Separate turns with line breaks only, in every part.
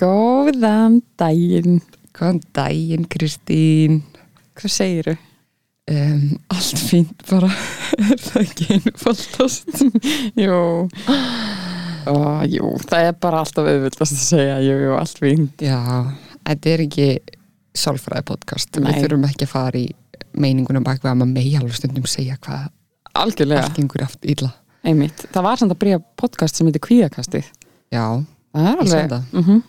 Góðan daginn.
Hvaðan daginn, Kristín?
Hvað segiru?
Um, allt fínt bara, er það ekki einu fóltast?
Jú. Ó, jú, það er bara alltaf auðvitað að segja, jú, jú, allt fín.
Já, þetta er ekki sálfræði podcast.
Nei.
Við þurfum ekki að fara í meiningunum bak við að maður megi alveg stundum segja hvað
Algjörlega.
allt gengur aftur illa.
Einmitt. Það var samt að byrja podcast sem heitir Kvíðakastið.
Já,
Það er
Ég sá
alveg.
það.
Mm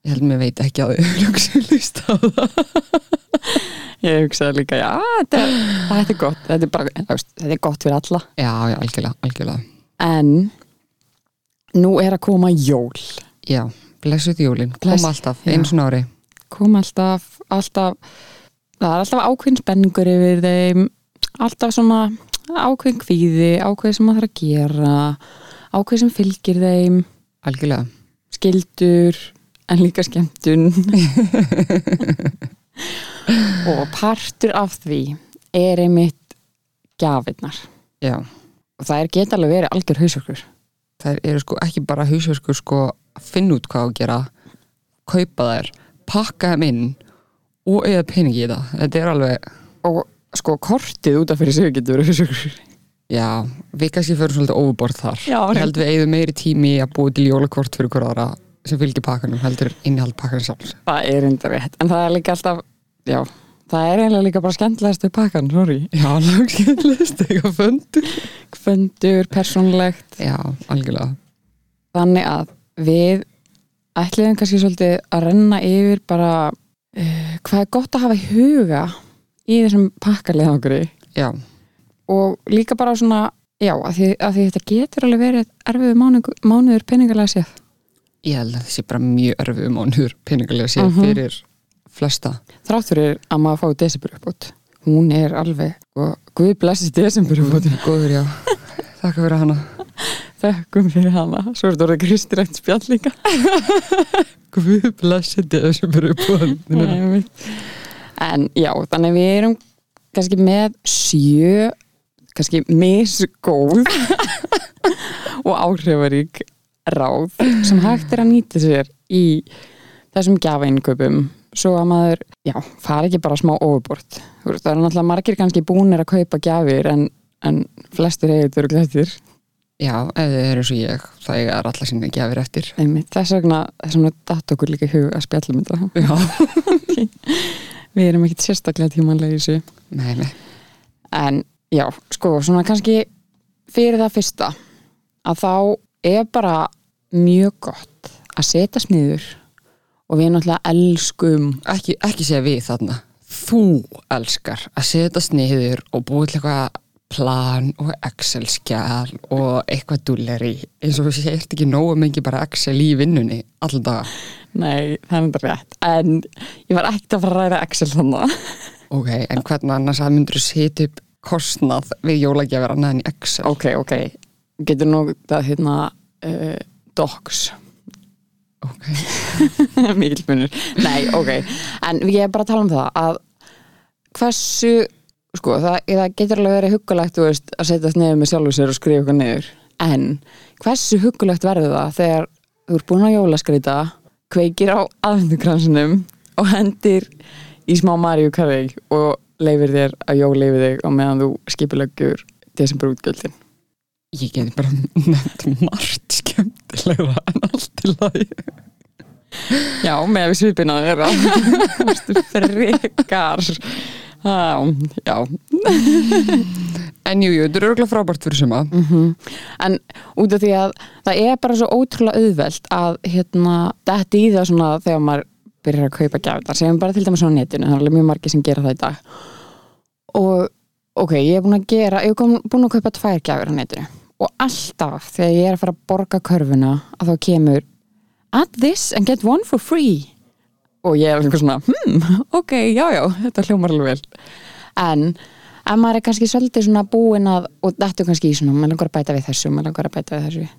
ég held mér veit ekki að þau hugsa hlusta á það.
Ég hugsaði líka, já, þetta, þetta er gott. Þetta er, bara, þú veist, þetta er gott fyrir alla.
Já, já, algjörlega, algjörlega.
En nú er að koma jól.
Já, blessuð jólin,
Bless-
koma alltaf,
Já.
eins og nári.
Kom alltaf, alltaf, það er alltaf ákveðin spenningur yfir þeim, alltaf svona ákveðin kvíði, ákveðin sem maður þarf að gera, ákveðin sem fylgir þeim,
Algjörlega.
skildur, en líka skemmtun. Og partur af því er einmitt gjafirnar.
Já,
Og það er geta alveg verið algjör hausökkur.
þær eru sko ekki bara hausverkur sko að finna út hvað á að gera kaupa þær, pakka þeim inn og eða peningi í það þetta er alveg,
Og sko kortið út af fyrir sig getur verið hausökkur.
já, við kannski fyrir svolítið overbord þar,
Já,
Ég held við eigum meiri tími í að búa til jólakort fyrir hver aðra sem fylgir pakkanum, heldur innihald pakkanum sjálf
Það er enda rétt, en það er líka alltaf, já, það er eiginlega líka bara skemmtilegast við pakkan, sorry.
Já, langskjöldlist, eitthvað föndur
Föndur, persónlegt,
Já, algjörlega
þannig að við ætliðum kannski svolítið að renna yfir bara uh, hvað er gott að hafa í huga í þessum pakkalið okkur
Já,
og líka bara svona, já, að því, að því þetta getur alveg verið erfiðu mánuður, mánuður peningalega séð.
ég held að þessi bara mjög erfum á njur peningalega séð
Mhm.
fyrir flesta
Þrátt fyrir að maður fái desember uppbútt, hún er alveg, og guð blessist desember uppbútt.
Góður, já, þakka fyrir hana
þökkum fyrir hana svo er þetta orðið kristirænt spjall líka
Guð blessi þetta sem eru búin
en já, þannig við erum kannski með sjö kannski misgóð og áhrifarík ráð sem hægt er að nýta sér í þessum gjafainköpum svo að maður, já, fari ekki bara smá overbort, Þú veist, það eru náttúrulega margir kannski búnir að kaupa gjafir en, en flestir heitur og glættir
Já, ef þið eru svo ég, það er allar sinni gefir eftir.
Einmitt, þess vegna, þess vegna datt okkur líka í hug að spjalla um þetta.
Já.
Við erum ekkit sérstaklega tímanlega í þessu.
Nei, nei.
En já, sko, svona kannski fyrir það fyrsta að þá er bara mjög gott að setjast niður og við náttúrulega elskum
Ekki, ekki segja við þarna. Þú elskar að setjast niður og búið til eitthvað plan og Excel-skjál og eitthvað dúleri. Eins og þú segir ekki nógu mikið bara Excel í vinnunni alltaf daga.
Nei, það er þetta rétt. En ég var ekkert að fara að ræða Excel þannig.
Ok, en hvernig annars að myndur þú setja upp kostnað við jólagjafir annað en í Excel?
Ok, ok. Getur notað hérna uh, docs.
Ok.
Mikil munur. Nei, ok. En ég er bara að tala um það að hversu, sko, það, það getur alveg verið huggulegt, þú veist, að setjast niður með sjálfu sér og skrifa eitthvað niður. En hversu huggulegt verður það þegar þú ert búin að jólaskreita, kveikir á aðvendukransinum og hendir í smá Maríu Karveig og leifir þér að jól leifir þig og meðan þú skipilöggjur desember útgjöldin.
Ég geti bara nefnt margt skemmtilega en allt í lagi.
Já, með að við svipina þeirra Þú frekar Já, já
En jú, jú, þetta er örgulega frábært fyrir suma.
En út af því að það er bara svo ótrúlega auðvelt að hérna, þetta í það svona þegar maður byrjar að kaupa gjafirnar, segjum bara til dæmis á netinu, það er alveg mjög margir sem gera það í dag og ok, ég er búin að gera, ég er kom- búin að kaupa tvær gjafir á netinu og alltaf þegar ég er að fara að borga körfuna að þá kemur add this and get one for free og ég er eitthvað svona, hmm, ok, já, já þetta hljómar alveg vel en ef maður er kannski svolítið svona búin að og þetta er kannski í svona, maður langar að bæta við þessu maður langar að bæta við þessu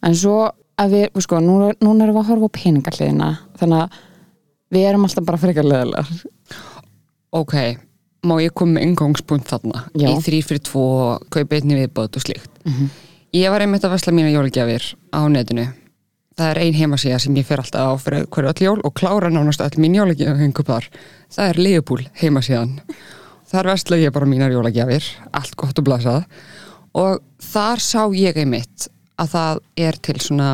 en svo að við, við sko, nú, núna erum við að horfa á peningahliðina þannig að við erum alltaf bara frekar leðilegar
ok, má ég koma með engangspunkt þarna
Já.
í þrýr fyrir tvo, kaupa einni viðbót og slíkt ég var einmitt að vesla mína jólagjafir á netinu það er ein heimasíða sem ég fer alltaf á fyrir hverju öll jól og klára nánast öll mín jólagjöfingu þar. Það er Leifbúl heimasíðan. Þar vestla ég bara mínar jólagjafir, allt gott og blasað. Og þar sá ég einmitt að það er til svona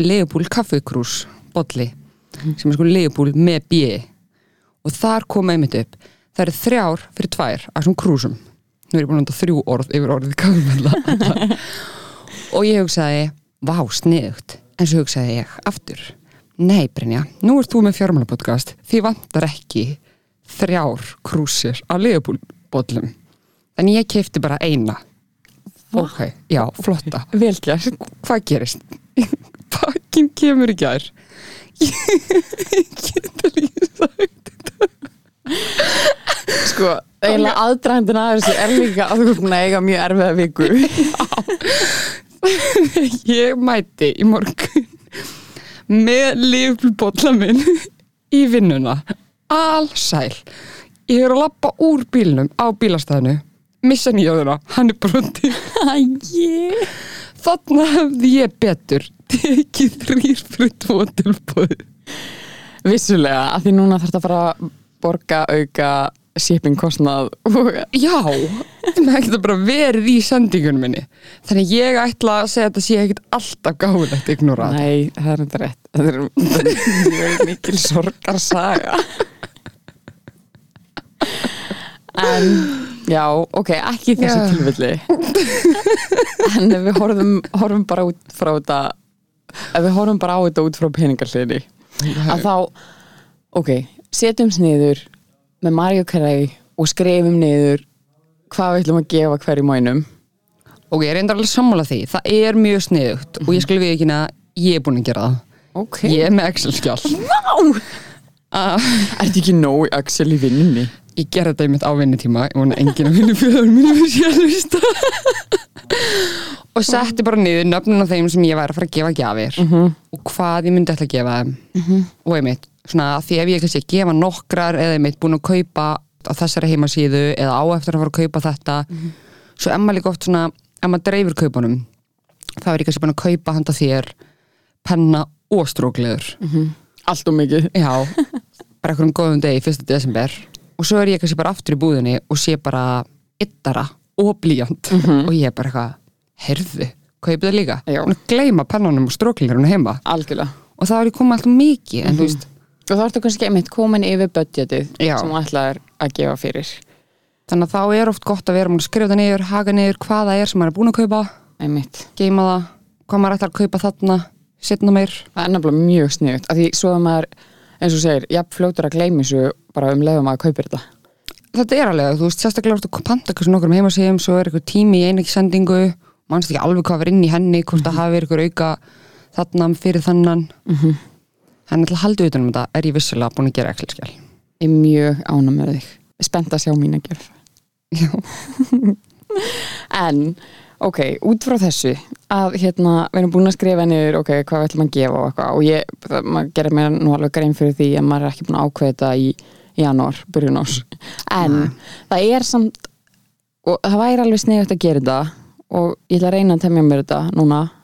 Leifbúl kaffekrús bolli sem er sko Leifbúl með bjöði. Og þar kom einmitt upp. Það eru þrjár fyrir tvær af svona krúsum. Nú er ég búin að nota þrjú orð yfir orðið kaffekrús. og ég hugsaði, vá, sniðugt en svo hugsaði ég aftur nei Brynja, nú ert þú með fjármálapodcast því vantar ekki þrjár krúsir á liðbúlbóllum en ég keipti bara eina ok, já, flotta
Vel gert.
hvað gerist? pakkin kemur í gær
Sko, eiginlega aðdragandina að þessu er líka að þú ert búin að eiga mjög erfiða viku.
ég mæti í morgun með liðbúlbólla minn í vinnuna allsæl ég er að lappa úr bílnum á bílastæðinu missa nýjöðuna, hann er brotinn
Æjé.
Þarna hefði ég betur tekið þrýr fyrir tvo tilbúð.
Vissulega, af því núna þarf þetta bara að borga, auka, shipping kostnað og
Já, það hefði bara verið í sendingunum minni. Þannig að ég ætla að segja að þetta sé ekkert alltaf gáðlegt ignorað.
Nei, það er þetta rétt. Það er, það er mjög mikil sorgarsaga. En, já, ok, ekki í þessu
Já.
tilfelli. En ef við horfum, horfum bara út frá þetta, ef við horfum bara á þetta út frá peningarliðinni, að þá, ok, setjumst niður með Mario Carey og skrifum niður hvað við ætlum að gefa hverjum mænum.
Og ég er reyndar alveg sammála því. Það er mjög sniðugt og ég skil við ekki að ég er búin að gera það.
Ok.
Ég er með Excel-skjál.
Vá! Ah, Er þetta ekki nóg Axel í vinnunni?
Ég gerði þetta einmitt á vinnutíma Ég vona enginn að vinnu fjöður mínu fyrir sér að hlusta Og setti bara niður nöfnun á þeim sem ég væri að fara að gefa gjafir Og hvað ég myndi ætla að gefa þeim Og einmitt, svona því ef ég kannski að gefa nokkrar Eða einmitt búin að kaupa á þessari heimasíðu Eða á eftir að fara að kaupa þetta Svo emma líka oft svona Ef maður dreifir kaupunum Þá er ég kannski búin að kaupa handa þér Penna og strókleður
Allt og mikið.
Já, bara einhverjum góðum degi 1. desember og svo er ég kannski bara aftur í búðinni og sé bara yttara og blíjant og ég er bara eitthvað, herðu, kaupið það líka
Já.
og gleyma pennanum og stróklingarinn heima
Algjörlega.
og það er ég komið alltaf mikið
Mhm.
en þú veist,
Og þá ertu kannski einmitt komin yfir budgetið
Já.
sem þú ætlaðir að gefa fyrir.
þannig að þá er oft gott að vera múin að skrifa það niður, haga niður hvað það er sem maður er búin að kaupa,
Einmitt.
geima það hvað maður ætlar að kaupa þarna, setna meir
Það er nefnilega mjög sniðut. Því svo að maður, eins og þú segir, jafn fljótur að gleymi þessu bara um leiðum að kaupir þetta.
þetta er alveg, þú veist, sérstaklega ertu að panta eitthvað svona okkur um heimasíðum, svo er eitthvað tími í einu ekki sendingu, mannst ekki alveg hvað var inn í henni, hvort það hafi verið eitthvað auka þarna fyrir þannan mm -hmm. en alltaf haldið utanum um þetta er ég vissulega búin að gera ekki skjál
Ég er mjög ána með þig. Spennt að sjá mína gjörð.
Já.
en, ok, út frá þessu að hérna, við erum búin að skrifa niður ok, hvað við ætlum að gefa og eitthvað og ég, það, maður gerir mér nú alveg grein fyrir því að maður er ekki búin að ákveða þetta í janúar, byrjun ás en það er samt og það væri alveg sniðjögt að gera þetta og ég ætla að reyna að temja mér þetta núna, mm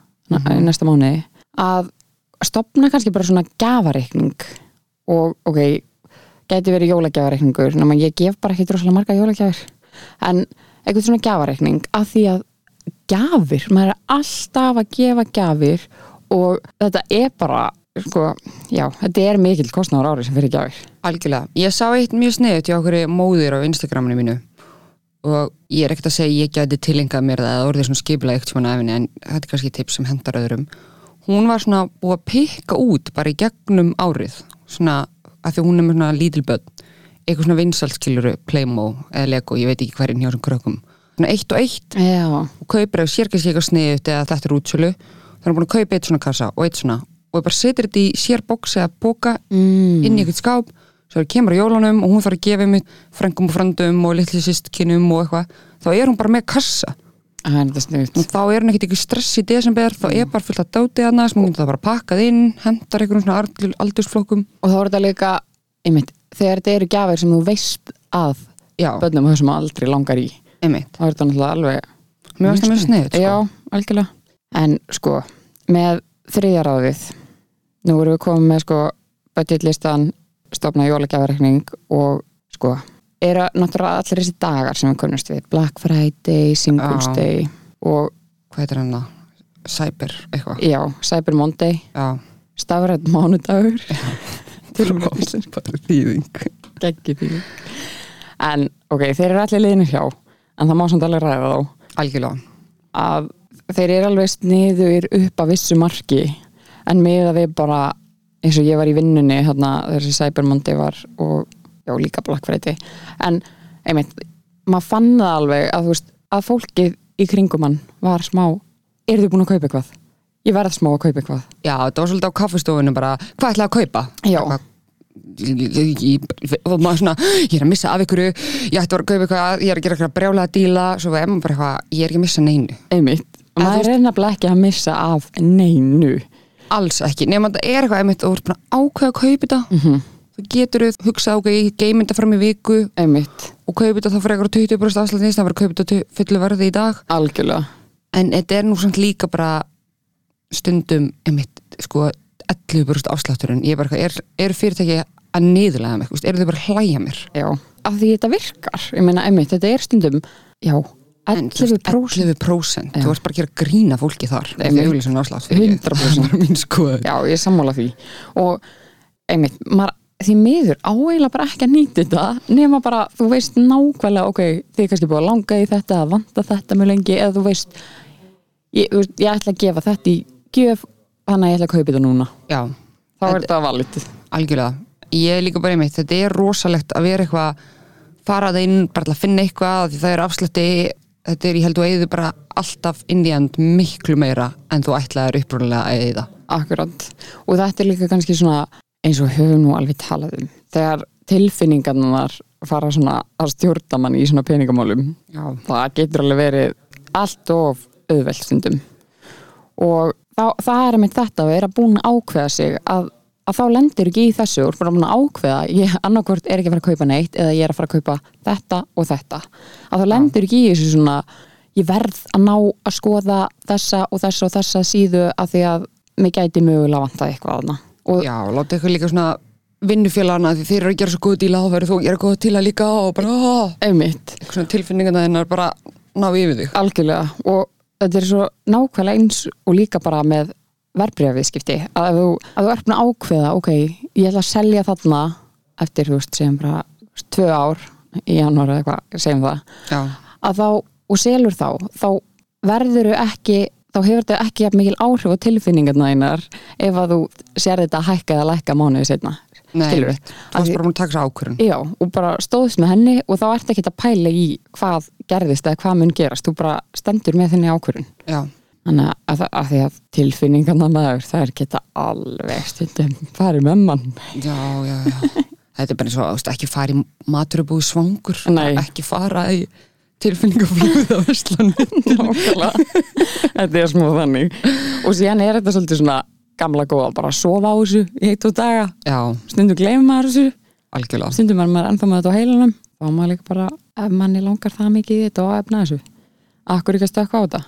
næsta mánuði að stopna kannski bara svona gafareikning og ok, gæti verið jólagjafareikningur nema ég gef bara ekki droslega marga jólagjafir en eitthvað svona gjafareikning af því að gjafir, maður er alltaf að gefa gjafir og þetta er bara sko, já, þetta er mikil kostnáður ári sem fyrir gjafir
Algjörlega, ég sá eitt mjög sniðut hjá okkur móðir á Instagraminu mínu og ég er ekkert að segja ég gæti tilengað mér það eða orðið svona skipulega eitt svona efni en þetta er kannski tips sem hendar öðrum hún var svona búið að pikka út bara í gegnum árið svona að því hún er með svona lítilböld eitthvað svona vinsalskiluru, Playmo eða Lego, ég veit ekki hverjum hjá sem krökkum svona eitt og eitt
já,
og kaupir ef sér kannski eitthvað sniðut eða þetta er útsölu þannig er búin að kaupa eitt svona kassa og eitt svona og bara setur þetta í sér bóksi eða bóka
mm.
inn í eitthvað skáp svo er kemur á jólunum og hún þarf að gefa mig frengum og fröndum og litli sýstkinum og eitthvað þá er hún bara með kassa
það er þetta sniðut
og þá er hún ekkert ekki stress í desember þá er bara fullt að dáti hana sem hún getur það bara pakkað inn hendar einhvern svona aldurs- aldursflokkum
og þá er þetta líka, einmitt, þegar þetta eru gjafir sem þú veist að
já,
bönnum þau sem aldrei langar í
einmitt
þá er þetta náttúrulega alveg
mér varst það mjög sniðið sko.
já, algjörlega en sko, með þriðja ráðið Nú erum við komið með sko budgetlistan, stopna jólagjafarekning og sko eru náttúrulega allir þessi dagar sem við kunnumst við Black Friday, Singles
Já.
Day og
Hvað heitir hann það? Cyber eitthvað.
já, Cyber Monday
Já.
stafrætt mánudagur
Frábær þýðing.
geggi því en ok, þeir eru allir liðinu hjá en það má samt alveg ræða þá
Algjörlega.
að þeir eru alveg sniður upp að vissu marki en með að við bara eins og ég var í vinnunni þarna þegar þessi Cyber Monday var og já líka Black Friday en einmitt, maður fann það alveg að þú veist, að fólkið í kringum hann var smá, eru þau búin að kaupa eitthvað? Ég verð smá að kaupa eitthvað
Já, þetta var svolítið á kaffistofunum bara, hvað ætlaði að kaupa?
Já.
Eitthvað, ég- ég- ég- og maður svona, ég er að missa af ykkur ég ætti að vera að kaupa eitthvað, ég er að gera eitthvað brjálega díla, svo er maður bara eitthvað, ég er ekki að missa neinu
einmitt,
En þú
maður er nefnilega ekki að missa af neinu
alls ekki, nema þetta er eitthvað einmitt og þú ert bara að ákveða að kaupa þetta mm -hmm. þú getur þau hugsað, ok, ég geim þetta fram í viku
einmitt,
og kaupa þetta þá fyrir eitthvað 20% afslæðin það var að kaupa þetta tu- fullu verði í dag
algjörlega
en þetta er nú samt líka bara stundum, einmitt, sko 11% afslátturinn, ég er bara eitthvað, er, er fyrirtæki að niðurlega mig, eru þau bara að hlæja mér
já, af því þetta virkar ég meina einmitt, þetta er stundum já,
En þú veist,
11%
11% þú ert bara að gera grína fólki þar
Einmitt.
þegar auðvitað afslátt fyrir
100%.
ekki. það er mín sko. skoð
Já, ég er sammála því og einmitt, maður, því miður áeila bara ekki að nýta þetta nema bara, þú veist nákvæmlega ok, þið er kannski búið að langa í þetta að vanda þetta mjög lengi eða þú veist ég, þú veist, ég ætla að gefa þetta í gjöf þannig að ég ætla að kaupa þetta núna
já,
þá er þetta valið
algjörlega ég er líka bara einmitt, þetta er rosalegt að vera eitthvað fara það inn, bara til að finna eitthvað því það er afslætti, þetta er ég held og eigðu bara alltaf inn í end miklu meira en þú ætlaðir upprúnulega að eigða
Akkurat, og þetta er líka kannski svona eins og höfum nú alveg talað um þegar tilfinningarnar fara svona að stjórna mann í svona peningamálum
já,
það getur alveg verið allt of auðveldstundum og þá, það er með þetta að vera búin að ákveða sig að, að þá lendir ekki í þessu og búin að ákveða, ég annarkvort er ekki að fara að kaupa neitt eða ég er að fara að kaupa þetta og þetta að þá lendir ekki í þessu svona ég verð að ná að skoða þessa og þessa og þessa síðu af því að mig gæti mögulega vantað eitthvað aðna og
já, láta eitthvað líka svona vinnufélagana því þeir eru að gera svo góð díla þá verður þú að gera góð díla líka og bara "Ah",
einmitt,
eitthvað svona tilfinningarna þinnar bara ná yfir þig
algjörlega og þetta er svo nákvæmlega eins og líka bara með verbreyfiðskipti að ef þú, að þú er búin að ákveða ok, ég ætla að selja þarna eftir, þú veist, segjum bara þú veist, tvö ár í janúar eða eitthvað, segjum það
já,
að þá, og selur þá þá verður þau ekki þá hefur þetta ekki jafn mikil áhrif á tilfinningarna einar ef að þú sér þetta hækka eða lækka mánuði setna
Nei,
skilur
einmitt. þú varst bara múin að taka sér ákvörun
Já, og bara stóðst með henni og þá ert ekki að pæla í hvað gerðist eða hvað mun gerast, þú bara stendur með þenni ákvörun.
já,
Þannig að, að, að því að tilfinningarna maður, það er geta alveg stundum farið með mann.
já, já, já. þetta er bara eins og þú veist, ekki fara í maturubúi svangur
Nei.
ekki fara í tilfinningaflúða verslanum
Nákvæmlega. þetta er smá þannig. Og síðan er þetta svolítið svona gamla góða, bara að sofa á þessu í eitt og daga,
já,
stundum gleymum maður þessu,
algjörlega
stundum er maður ennþá með þetta á heilanum, þá á maður líka bara, ef manni langar það mikið í þetta og að efna þessu, akkur ekki að stökka á þetta.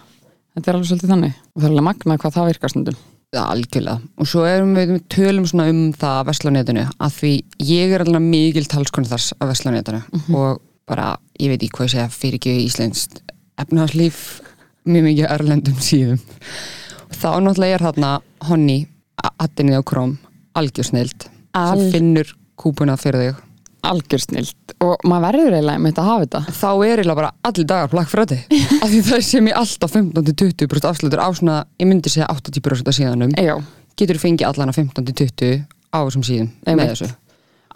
Þetta er alveg svolítið þannig. Og það er alveg magnað hvað það virkar stundum.
Já, algjörlega, og svo erum við við tölum svona um það að veslanetinu að því ég er alveg mikil talskonu þess að veslanetinu og bara, ég veit ekki hvað ég segja fyrir ekki íslenskt efnahagslíf mjög mikið á erlendum síðum þá náttúrulega er þarna honni, attinnið á króm algjörsneild,
Al-
sem finnur kúpuna fyrir þig
algjör snilt og maður verður eiginlega með þetta að hafa þetta
þá er eiginlega bara allir dagar plakk fræti af því það sem ég alltaf 15-20% afslutur á svona, ég myndi segja 80% af síðanum
Ejó,
getur fengið allana 15-20 á þessum síðum með
Einmitt.
þessu.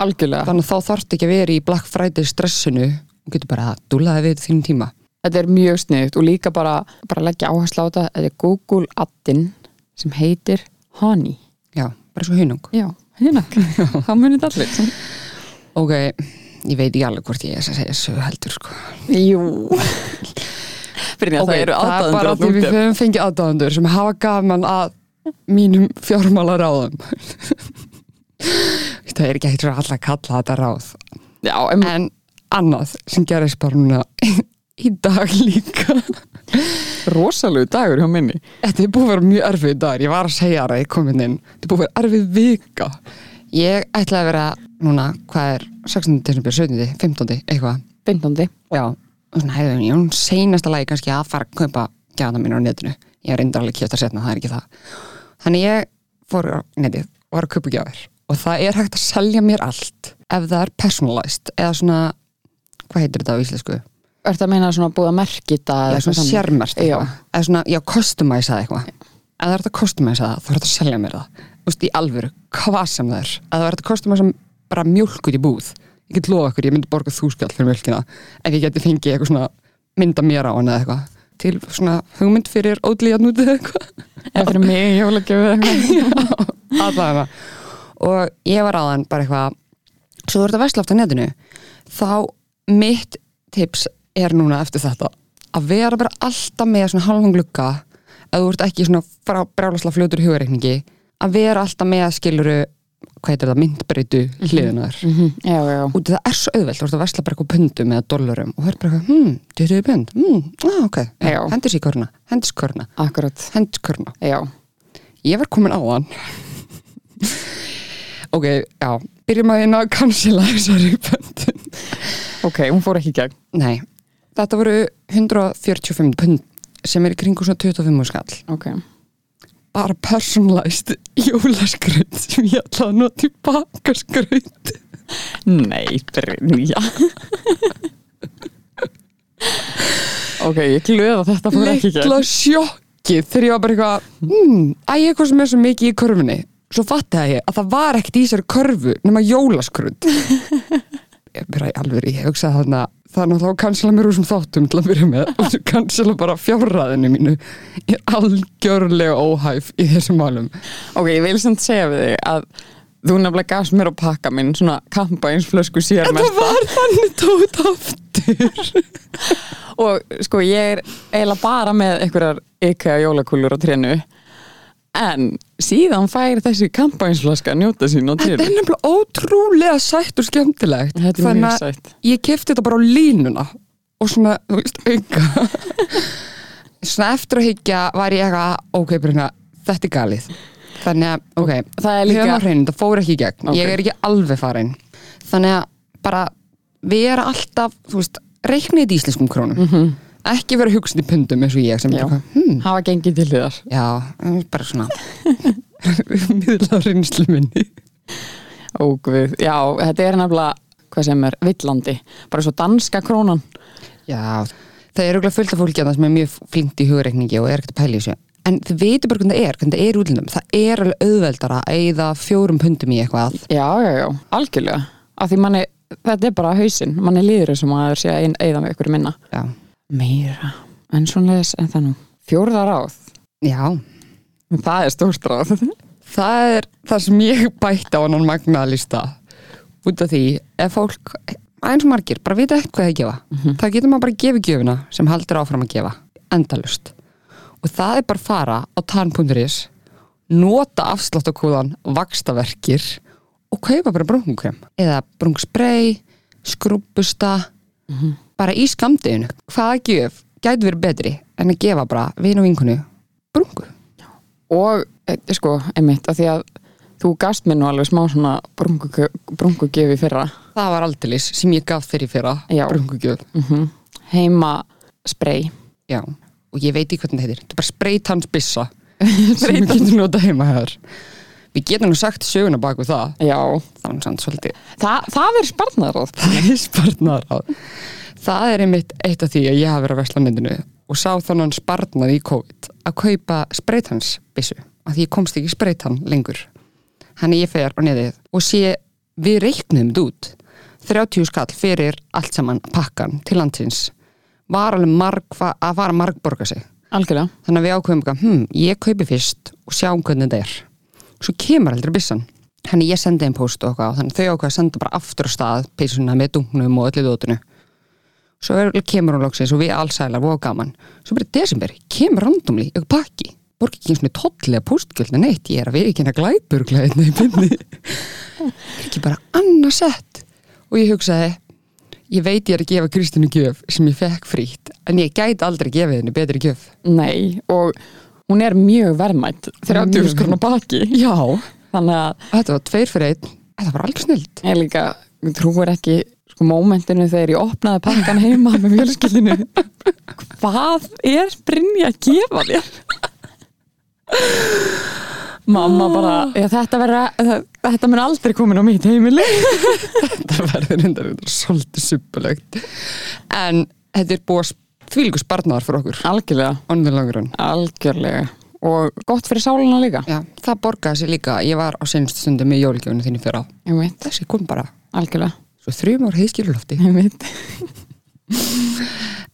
algjörlega
Þannig að þá þarf ekki að vera í Black Friday stressinu og getur bara að dúlaði við þínum tíma.
þetta er mjög snilt og líka bara, bara leggja áherslu á þetta þetta er Google addin sem heitir Honey
Já, bara svo hunung.
já, hérna, það munið allir
Ok, ég veit ekki alveg hvort ég er að segja sögu heldur sko.
jú Brynja, það eru
það er bara
aðdáðandur
því við höfum fengið aðdáðandur sem hafa gaman að mínum fjármála ráðum. það er ekki eitthvað alltaf að kalla þetta ráð.
já, em,
En annað sem gerist bara núna í dag líka
rosalegu dagur hjá minni
Þetta er búið að vera mjög erfið dagur, ég var að segja það í komininn. Þetta er búið að vera erfið vika. Ég ætla að vera núna, hvað er, 16. desember, 17. 15. eitthvað.
bindandi
Já, og svona hefðum ég, hún seinasta lagi kannski að fara að kaupa gæðana mínu á netinu. Ég er reyndar alveg kjöft að setna, það er ekki það. Þannig ég fór á netið og var að kaupa gæðar og það er hægt að selja mér allt ef það er personalized eða svona, hvað heitir þetta á íslensku?
Er þetta að meina svona búið að merki þetta eða
eða svona
eitthvað þannig?
sérmert
Já.
eitthvað eða svona, já, customize það eitthvað ef það er þetta customize það, þá er þetta að selja mér það þú veist, í alvöru, hvað sem það er ef það er þetta customize bara mjölk út í búð ég get lofa ykkur, ég myndi borga þúskall fyrir mjölkina ef ég geti fengið eitthvað svona mynda mér á hana eða eitthvað til svona hugmynd fyrir ódlíðan út eða eitthvað
Eða fyrir mig, ég vil ekki við eitthvað
allavega og ég var aðan bara eitthvað svo þú ert að vesla aftur á netinu þá mitt tips er núna eftir þetta að vera bara alltaf með svona halvan glugga ef þú ert ekki svona frá brjálasla fljótur í hugareikningi að vera alltaf með skiluru hvað heitir það, myndbreytu hliðina þar
Mhm, Já, já, já
út af það er svo auðvelt, þú ert að versla bara eitthvað pundum eða dollurum og það er bara eitthvað, hmm, 20 pund hmm, á, ok,
Já.
hendur sér körna hendur sér körna,
Akkurat,
hendur sér körna
já
Ég var komin á hann Ok, já Byrjum að hérna að cancela þessari pöndin
Ok, hún fór ekki í gegn
Nei, þetta voru 145 pönd sem er í kringu svona 25 skall
Ok,
bara personalized jólaskraut sem ég ætlaði að nota í bakaskraut
nei, Brynja Ok, ég glöð að þetta fór ekki í gegn
Litla sjokkið þegar ég var bara eitthvað hmm, Æ, eitthvað sem er svo mikið í körfunni Svo fattaði ég að það var ekkert í þessari körfu nema jólaskrund Ég byrja í alveg, ég hugsaði þarna Það er náttúrulega að cancela mér úr sem þáttum til að byrja með og svo cancela bara fjárraðinu mínu Ég er algjörlega óhæf í þessum málum
Ok, ég vil samt segja við þig að þú nefnilega gafst mér á pakka minn svona kampa eins flösku sér
Það var þannig tótt aftur
og sko ég er eiginlega bara með einhverjar ykka jólakúlur á trénu en síðan fær þessi kampænsflaska að njóta sín á
Þetta er
trénu
nefnilega ótrúlega sætt og skemmtilegt
Þetta er
Þannig
mjög
að
sætt.
Ég kefti þetta bara á línuna og svona, þú veist, auka Svona eftir að hyggja var ég eitthvað ok, Brynja, þetta er galið Þannig að, ok,
Það er líka-
höfum á hreinu, það fór ekki í gegn
Ok.
Ég er ekki alveg farin Þannig að bara við erum alltaf, þú veist, reiknið þetta í íslenskum krónum -hmm. Ekki vera hugsin í pundum eins og ég sem
Mhm. Já.
er eitthvað, hmm,
hafa gengið til þér
já, bara svona miðla reynslu minni
og við, já, þetta er nefnilega hvað sem er villandi, bara svo danska krónan
Já, það er auðvitað fullt af fólki þarna sem er mjög flinkt í hugreikningi og er ekkert að pæla í þessu en þau veitur bara hvernig það er, hvernig það er útlindum það er alveg auðveldara að eyða fjórum pundum í eitthvað
já, já, já, algjörlega af því manni, þetta er bara hausinn manni líður þessum að það sé að ein- eyða með ykkur minna
Já,
meira, en svona leðis en það nú, fjórða ráð
Já.
það er stórt ráð
það er það sem ég bætti á annan magnaðalista út af því ef fólk, eins og margir, bara vita ekkert hvað það gefa það getur maður bara að gefa gjöfuna sem haldur áfram að gefa, endalust og það er bara að fara á tan.is nota afsláttakúðan vakstaverkir og kaupa bara brúnkum eða brúngsprey, skrúbusta bara í skamdeginu hvaða gjöf gæti verið betri en að gefa bara vin og vinkunu brúngu
og e, sko, einmitt, af því að þú gast mér nú alveg smá svona brungu, brungugjöf í fyrra
Það var aldeilis sem ég gaf þér í fyrra
Já.
Brungugjöf
mm heima sprey
Já Og ég veit í hvernig þetta heitir Þetta er bara spreytansbissa sem við getum notað heima hér Við getum nú sagt söguna bak við það
já,
Það var nú samt svolítið
Þa, það er sparnaráð
Það er sparnar á Það er einmitt eitt af því að ég hafi verið að versla á netinu og sá þannig sparnað í COVID að kaupa spreytansbissu af því ég komst ekki í spreytan lengur Þannig ég fer á netið og sé við reiknum þetta út 30 skall fyrir allt saman pakkan til landsins var alveg marg, að fara margborga sig
algjörlega,
þannig að við ákveðum eitthvað, hm, ég kaupi fyrst og sjáum hvernig þetta er svo kemur aldrei byssan þannig ég sendi einn post og eitthvað og þannig þau ákveða að senda bara aftur á stað peysuna með dungnum og öllu dótinu svo er, kemur hún loksins og við allsælar og gaman, svo bara í desember kemur randomli eitthvað pakki borgi ekki eins og með tóllega postgjöldna neitt ég er að við ekki hérna glæburglæðina í byrni er ekki bara annað sett og ég hugsaði ég veit ég er að gefa Kristínu gjöf sem ég fekk frýtt en ég gæti aldrei gefið henni betri gjöf
Nei, og hún er mjög verðmætt 30
Mjög.
skrona baki
já,
þannig að
þetta var tveir fyrir einn þetta var alveg snild
ég líka ég trúir ekki sko mómentinu þegar ég opnaði pakkan heima með fjölskyldinu hvað er Brynja að gefa þér? Mamma bara, já, þetta, vera, þetta mun aldrei komin á mitt heimili
þetta verður reyndar reyndar svolítið suppulegt en þetta er búið þvílíku sparnar fyrir okkur
Algjörlega,
onnur langur hann
algjörlega og gott fyrir sálina líka
já, það borgaði sér líka, ég var á senstu stundu með jólgjöfunu þínu fyrir á
Ég veit,
þessi kom bara,
algjörlega
svo þrjum ár heiðskilulofti
Ég veit,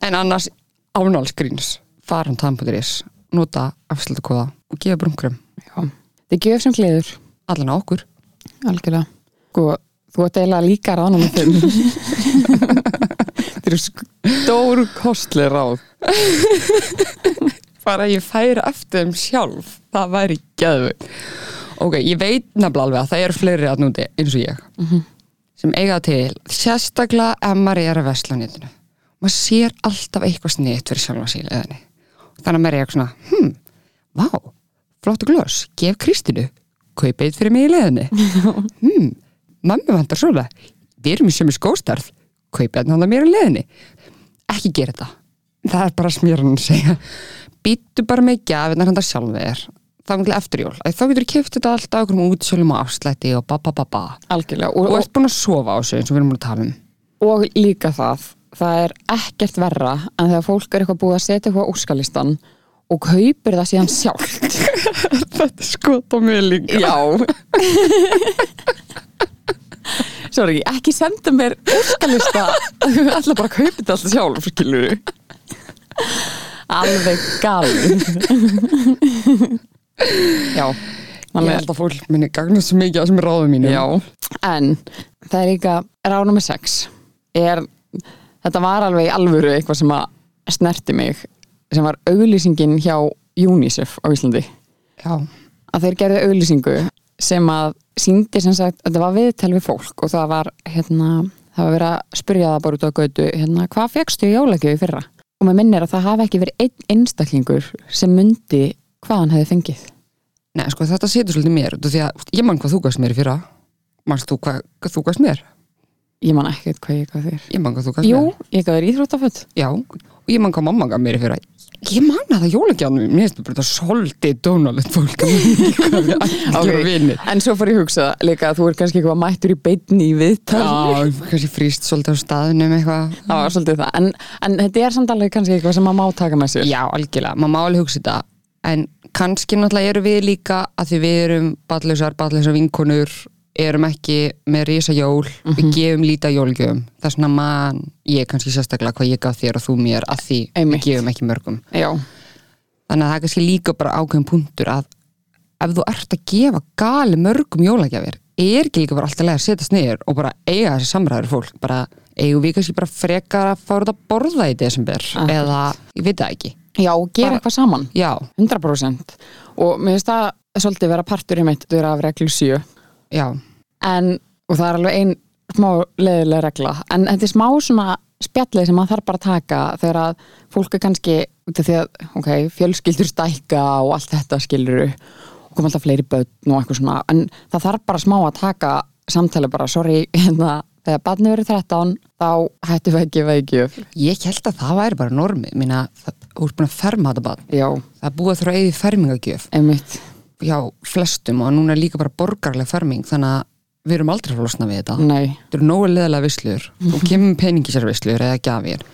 en annars ánálskríns faran tamputuris, nota afslutakóða og gefa brunkurum
já Þið gjöf sem gleður
allan á okkur
Algjörlega. Sko, þú ert eiginlega líka ráðnum með þeim. Þetta eru stór kostli ráð.
bara að ég færi eftir þeim sjálf það væri geðvögt ok, ég veit nefnilega alveg að það eru fleiri að núti eins og ég sem eiga til, sérstaklega ef maður er að vesla á netinu maður sér alltaf eitthvað snitt fyrir sjálfa síl eðinni. þannig að maður er eitthvað svona hm, vá, flottu glös gef Kristinu, kaupa eitt fyrir mig í leðinni hm, mammi vantar svona við erum í sömu skóstarð kaupa eitt handa mér í leðinni ekki gera þetta það er bara smýran að segja býttu bara með gjafinnar handa sjálfið þér þá er eftir jól, Æ, þá getur þú kæft þetta alltaf okkur um útsölum og afslætti og ba ba ba ba
Algjörlega.
og
Og,
ert búin að sofa á þessu eins og við erum búin að tala um
og, og líka það, það er ekkert verra en þegar fólk er eitthvað búið að setja eitthvað á úrskalistan og kaupir það síðan sjálft.
Þetta er skot á mig líka
Já. Sorry, ekki senda mér úrskalista. Þú ætla bara að kaupa þetta alltaf sjálf, skilur þú. Alveg galið. Já.
Ég
Þannig að
held að fólk minni gagnast svo mikið á þessum ráðum mínum
En það er líka rána með sex er, Þetta var alveg í alvöru eitthvað sem að snerti mig sem var auglýsingin hjá UNICEF á Íslandi
Já.
að þeir gerðu auglýsingu sem að síndi sem sagt, þetta var viðtel við fólk og það var hérna, það var verið að spyrja það bara út á götu, hérna, hvað fegstu í jólagjöf í fyrra? Og maður minnir að það hafi ekki verið einn einstaklingur sem mundi hvað hann hefði fengið.
Nei, sko, þetta setur svolítið mér út af því að ég man hvað þú gafst mér í fyrra Manst þú hvað, hvað þú gafst mér?
Ég man ekkert hvað ég gaf þér.
Ég man hvað þú gafst
Jú,
mér
ég gaf þér íþróttaföld.
Já, og ég man hvað mamma gaf mér í fyrra Ég man að það jólagjáðum Mér finnst þetta bara svolítið dónalegt fólk Allir
Ok.
vinni
En svo fór ég að hugsa líka að þú er kannski eitthvað mættur í beinni í viðtal.
Já, kannski frýst svolítið á staðinu með eitthvað
Það var svolítið það. En, en þetta er samt alveg kannski eitthvað sem maður má taka með sér.
Já, algjörlega, maður má alveg hugsa þetta en kannski náttúrulega eru við líka að því við erum ballausar, ballausar vinkonur erum ekki með risa jól við gefum lítið af jólgjöfum það er svona mann, ég kannski sérstaklega hvað ég gaf þér og þú mér að því
Einmitt.
við gefum ekki mörgum
Já.
þannig að það er kannski líka bara ákveðum punktur að ef þú ert að gefa gali mörgum jólagjafir er ekki líka bara alltaf leið að setjast niður og bara eiga þessi samræður fólk bara eigum við kannski bara frekar að fara út að borða í desember
Akkurat.
eða ég veit það ekki
Já, gera
Bara-
eitthvað saman.
Já,
100% og mér finnst það svolítið vera partur í mitt þú er af reglu 7
já,
en, og það er alveg ein smá leiðilega regla en þetta er smá svona spjallið sem maður þarf bara að taka þegar að fólk er kannski út af því að ok, fjölskyldur stækka og allt þetta skilur og kom alltaf fleiri börn og eitthvað svona en það þarf bara smá að taka samtali bara, sorry, hérna þegar barnið verið 13, þá hættum við að gefa í gjöf.
Ég held að það væri bara normið, minna, það, þú ert búin að ferma þetta bad.
Já,
Það er búið að þurfa að eigið fermingagjöf
einmitt
hjá flestum og núna er líka bara borgarlega ferming, þannig að við erum aldrei að losna við þetta.
Nei,
Þetta eru nógu leðalega vislur, þú kemur með peningisarvislur eða gjafir.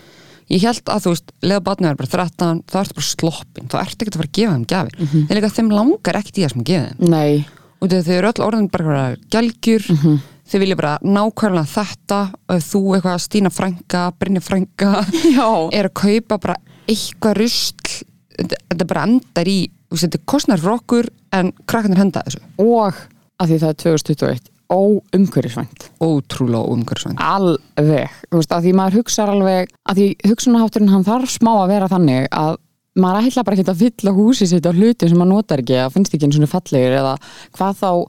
Ég held að þú veist, leða batnið er bara 13, þá ertu bara sloppin, þá ertu ekkert að fara að gefa þeim gjafir. Mm -hmm. En líka þeim langar ekkert í það sem að gefa þeim.
nei,
Og þegar þau eru öll orðin bara gælgjur, mm -hmm. þau vilja bara nákvæmlega þetta, og ef þú eitthvað Stína frænka, Brynja frænka,
Já.
er að kaupa bara eitthvað rusl þetta þetta bara endar í þú veist, þetta kostnar fyrir okkur en krakkarnir henda þessu
og að því það er 2021 óumhverjusvænt,
ótrúlega umhverfisvænt
alveg þú veist, að því maður hugsar alveg að því hugsunahátturinn hann þarf smá að vera þannig að maður ætla bara ekki að fylla húsi sitt á hluti sem maður notar ekki eða finnst ekki eins og fallegir eða hvað þá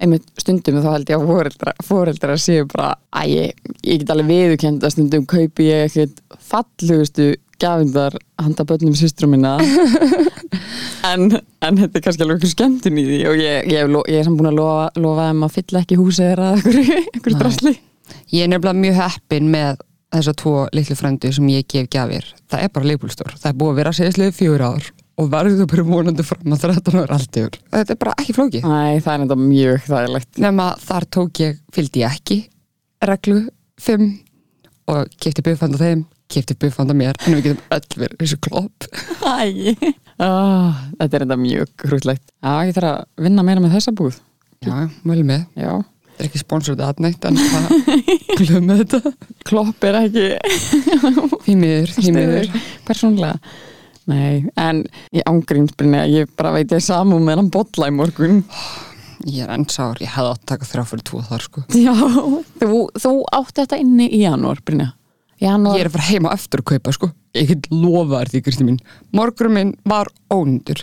einmitt stundum þá held ég að fóreldra, fóreldra séu bara að ég, ég get alveg viðurkend að stundum kaupi ég ekkert fallegustu gafindar handa börnum systrum minna en, en þetta er kannski alveg einhver skemmtun í því og ég, ég, hef lo- ég er samt búin að lofa, lofa um að fylla ekki húsið þeirra eða einhverju- einhverju
Nei.
drasli
Ég er nefnilega mjög heppin með þessa tvo litlu frændu sem ég gef gjafir. Það er bara leikbúlstór. Það er búið að vera segjaslega fjögur ár og verður þú bara vonandi fram að 13 ára aldur. Þetta er bara ekki flókið.
Æ, það er enda mjög þægilegt
Nefna þar tók ég, fylgdi ég ekki reglu 5 og kefti bufanda þeim, kefti bufanda mér en við getum öll verið þessu klopp.
Æ, þetta er enda mjög grútlegt Já, ég þarf að vinna meira með þessa búð
Já, mjög með.
Já,
Það er ekki sponsorðið aðnætt en það glömmu þetta.
klopp er ekki
Hýmiður, hýmiður.
Stiður, persónlega Nei, en ég ángrímsbrinni að ég bara veit ég samum með hann bolla í morgun
Ég er ensár, ég hefði átt að taka þrjá fyrir tvo þar sko.
Já, þú, þú átti þetta inni í janúar, Brynja
Ég
Janúar,
er að fara heima eftir að kaupa sko. Ég get lofa þér því, Kristi mín. Morgurum minn var ónundur.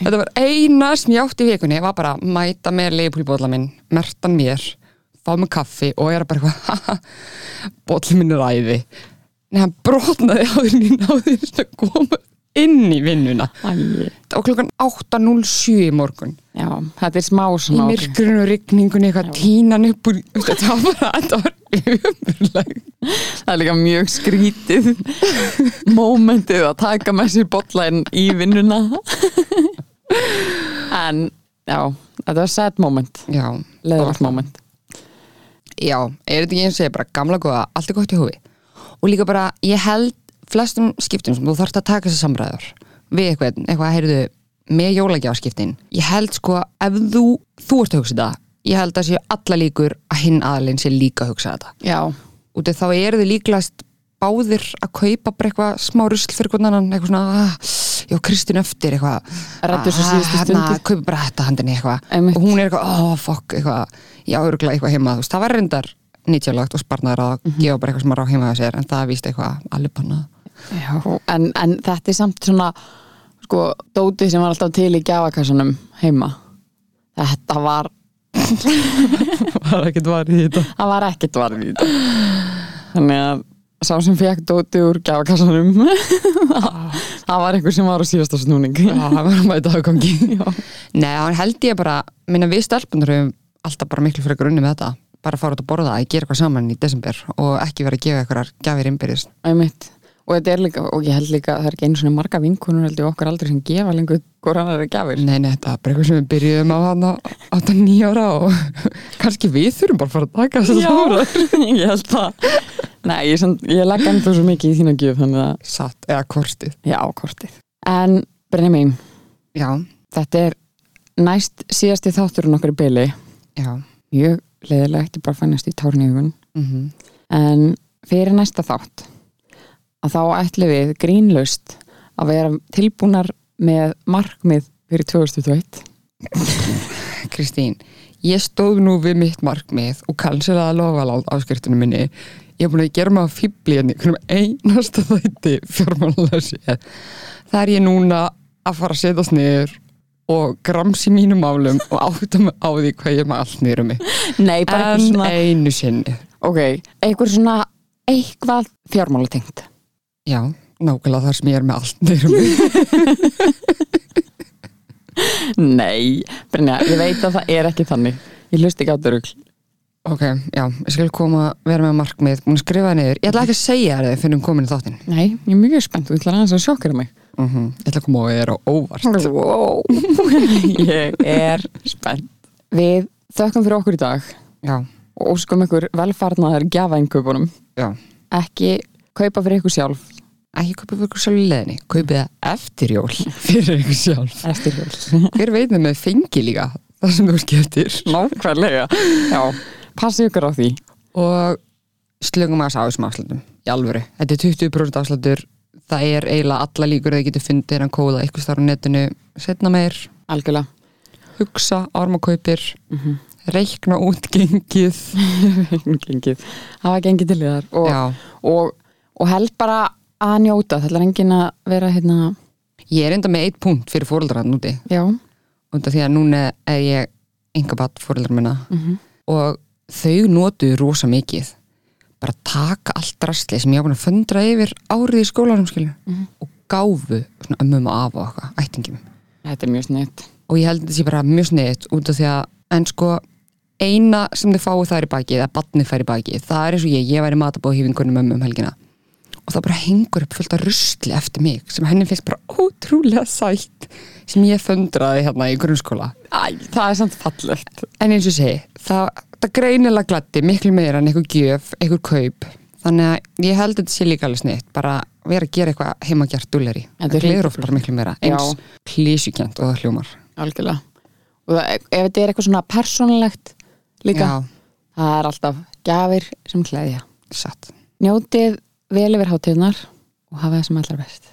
Þetta var eina sem ég átti í vikunni. Ég var bara að mæta með leifbúlbóla minn, mertan mér, fá mig kaffi og ég er bara eitthvað, haha, bóli minn er æði. Nei, hann brotnaði áður en ég náði þess að koma inn í vinnuna.
æ,
Og klukkan 8.07 í morgun.
já, þetta er smá
Í
svona ágrím
myrkurinn og rigningunni eitthvað tínan upp úr, þetta var bara, þetta var umurleg.
Það er líka mjög skrítið Mómentið að taka með sér bollan í vinnuna En, já, þetta var sad moment
Já,
Leðvart moment
já, er þetta ekki eins og ég bara gamla góða, allt er gott í hófi og líka bara, ég held flestum skiptum sem þú þarft að taka þessar samræður við eitthvað, eitthvað, heyrðu með jólagjáskiptin, ég held sko ef þú, þú ert að hugsa þetta ég held að séu alla líkur að hinn aðalinn sé líka að hugsa þetta
Já,
út af þá eru þið líklast báðir að kaupa bara eitthvað smá rusl fyrir hvernig annan, eitthvað svona ah, já, Kristinn eftir eitthvað
Ræddu þessu
Ah,
síðustu
hérna,
stundu.
kaupa bara þetta handinni eitthvað
Einmitt.
og hún er eitthvað, oh fuck, eitthvað já, örgulega eitthvað heima, þú veist, það var reyndar nýtjálagt og sparnar að
Mhm.
gefa bara eitthvað sem maður á heima á sér, en það víst eitthvað alveg bannað
Já, en, en þetta er samt svona sko, dótið sem var alltaf til í gjafakassanum heima þetta var,
var ekkert varð í þetta
það var ekkert varð í þetta þannig að sá sem fekk dótið úr gjafakassanum það var einhver sem var á síðasta snúning
já, það var að mæta afgangi Nei, hann held ég bara, minna við stelpunar höfum alltaf bara miklu frekar unni með þetta bara fara út að borða, að gera eitthvað saman í desember og ekki vera að gefa eitthvað gjafir innbyrðis
Æmitt. og þetta er líka, og ég held líka það er ekki einu svona marga vinkunur held ég okkar aldrei sem gefa lengur hvort hann er að gjafir
Nei, nei, þetta er bara eitthvað sem við byrjuðum á hann á 8-9 ára og kannski við þurfum bara að fara að taka þess að stóra.
ég held það Nei, ég, samt- ég legg ennþá svo mikið í þína gjöf þannig að,
Satt, eða kortið.
já, kortið En, Brynni mín,
Já,
þetta er næst síðasti þátturinn okkar í byli
já.
mjög leiðilegt, ég bara fannast í tárnýðun
Mm
en fyrir næsta þátt að þá ætlum við grínlust að vera tilbúnar með markmið fyrir 2021
Kristín, ég stóð nú við mitt markmið og kanselaði að lofa láð áskriftunum minni. Ég er búin að gera mig að fýbli henni hvernig einasta þætti fjármálulega séð. Það er ég núna að fara að setjast niður og gramsi mínum álum og átta mig á því hvað ég er með allt niður um mig.
Nei, bara eitthvað
En
svona
einu sinni.
eh, Ok, eitthvað svona eitthvað fjármálatengt
Já, nákvæmlega þar sem ég er með allt niður um mig.
Nei, Brynja, ég veit að það er ekki þannig Ég hlust ekki á dörugl
Ok, já, ég skal koma að vera með markmið, búin að skrifa það niður. Ég ætla ekki að segja þér þegar finnum komin í þáttinn.
Nei, ég er mjög spennt, þú ætlar aðeins að sjokkera mig
Mm Ég ætla að koma og ég er á óvart.
wow. Ég er spennt Við þökkum fyrir okkur í dag
Já,
og óskum ykkur velfarnaðar gjafainköpunum
já.
ekki kaupa fyrir ykkur sjálf
Ekki kaupið fyrir ykkur sjálf í leðinni, kaupið það eftir jól fyrir ykkur sjálf.
eftir jól
Hver veit það með fengi líka, það sem þú skiptir.
Nákvæmlega Já, passi ykkur á því
Og slöngum að þessu ásum afslutum, í alvöru. Þetta er 20% afslutur, það er eiginlega alla líkur að þið getur fundið hennan kóða ykkur starf á netinu, setna meir,
Algjörlega
hugsa, armakaupir, reikna út gengið.
Gengið, hafa gengið til þér og,
Já.
og, og held bara að njóta, þetta er engin að vera hérna,
Ég er enda með eitt punkt fyrir fóreldrarna núti
já
og þetta því að núna er ég engabatt fóreldrar minna og þau notuðu rosa mikið bara taka allt rastli sem ég var búin að föndra yfir árið í skólanum skilur og gáfu svona ömmum og afa og eitthvað, ættingum
Þetta er mjög snitt.
og ég held að þetta sé bara mjög sniðt út af því að en sko eina sem þið fáið það er í bakið eða batnið fær í bakið, það er eins og ég ég væri matabóðhýfingunum ömmu um helgina og það bara hengur upp fullt af rusli eftir mig sem henni finnst bara ótrúlega sætt sem ég fundraði hérna í grunnskóla
Æ, það er samt fallegt.
en eins og ég segi, það, það greinilega gladdi miklu meira en einhver gjöf, einhver kaup þannig að ég held að þetta sé líka alveg sniðt bara vera að gera eitthvað heimagjart dulleri,
Þetta
það
hlýtur-
gleður oft bara miklu meira eins klísjukjönd og það hljómar
Algjörlega. Og það, ef þetta er eitthvað svona persónulegt líka,
Já,
það er alltaf gjafir sem klæðja.
satt
Njótið vel yfir hátíðnar og hafa það sem allra best.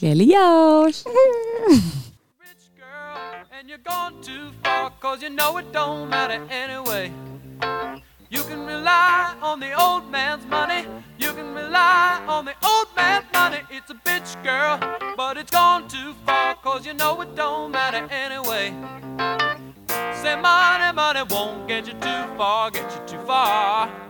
Gleðli jól!
rich girl, and you're gone too far, cause you know it don't matter anyway. You can rely on the old man's money, you can rely on the old man's money. It's a bitch, girl, but it's gone too far, cause you know it don't matter anyway. Say money, money won't get you too far, get you too far.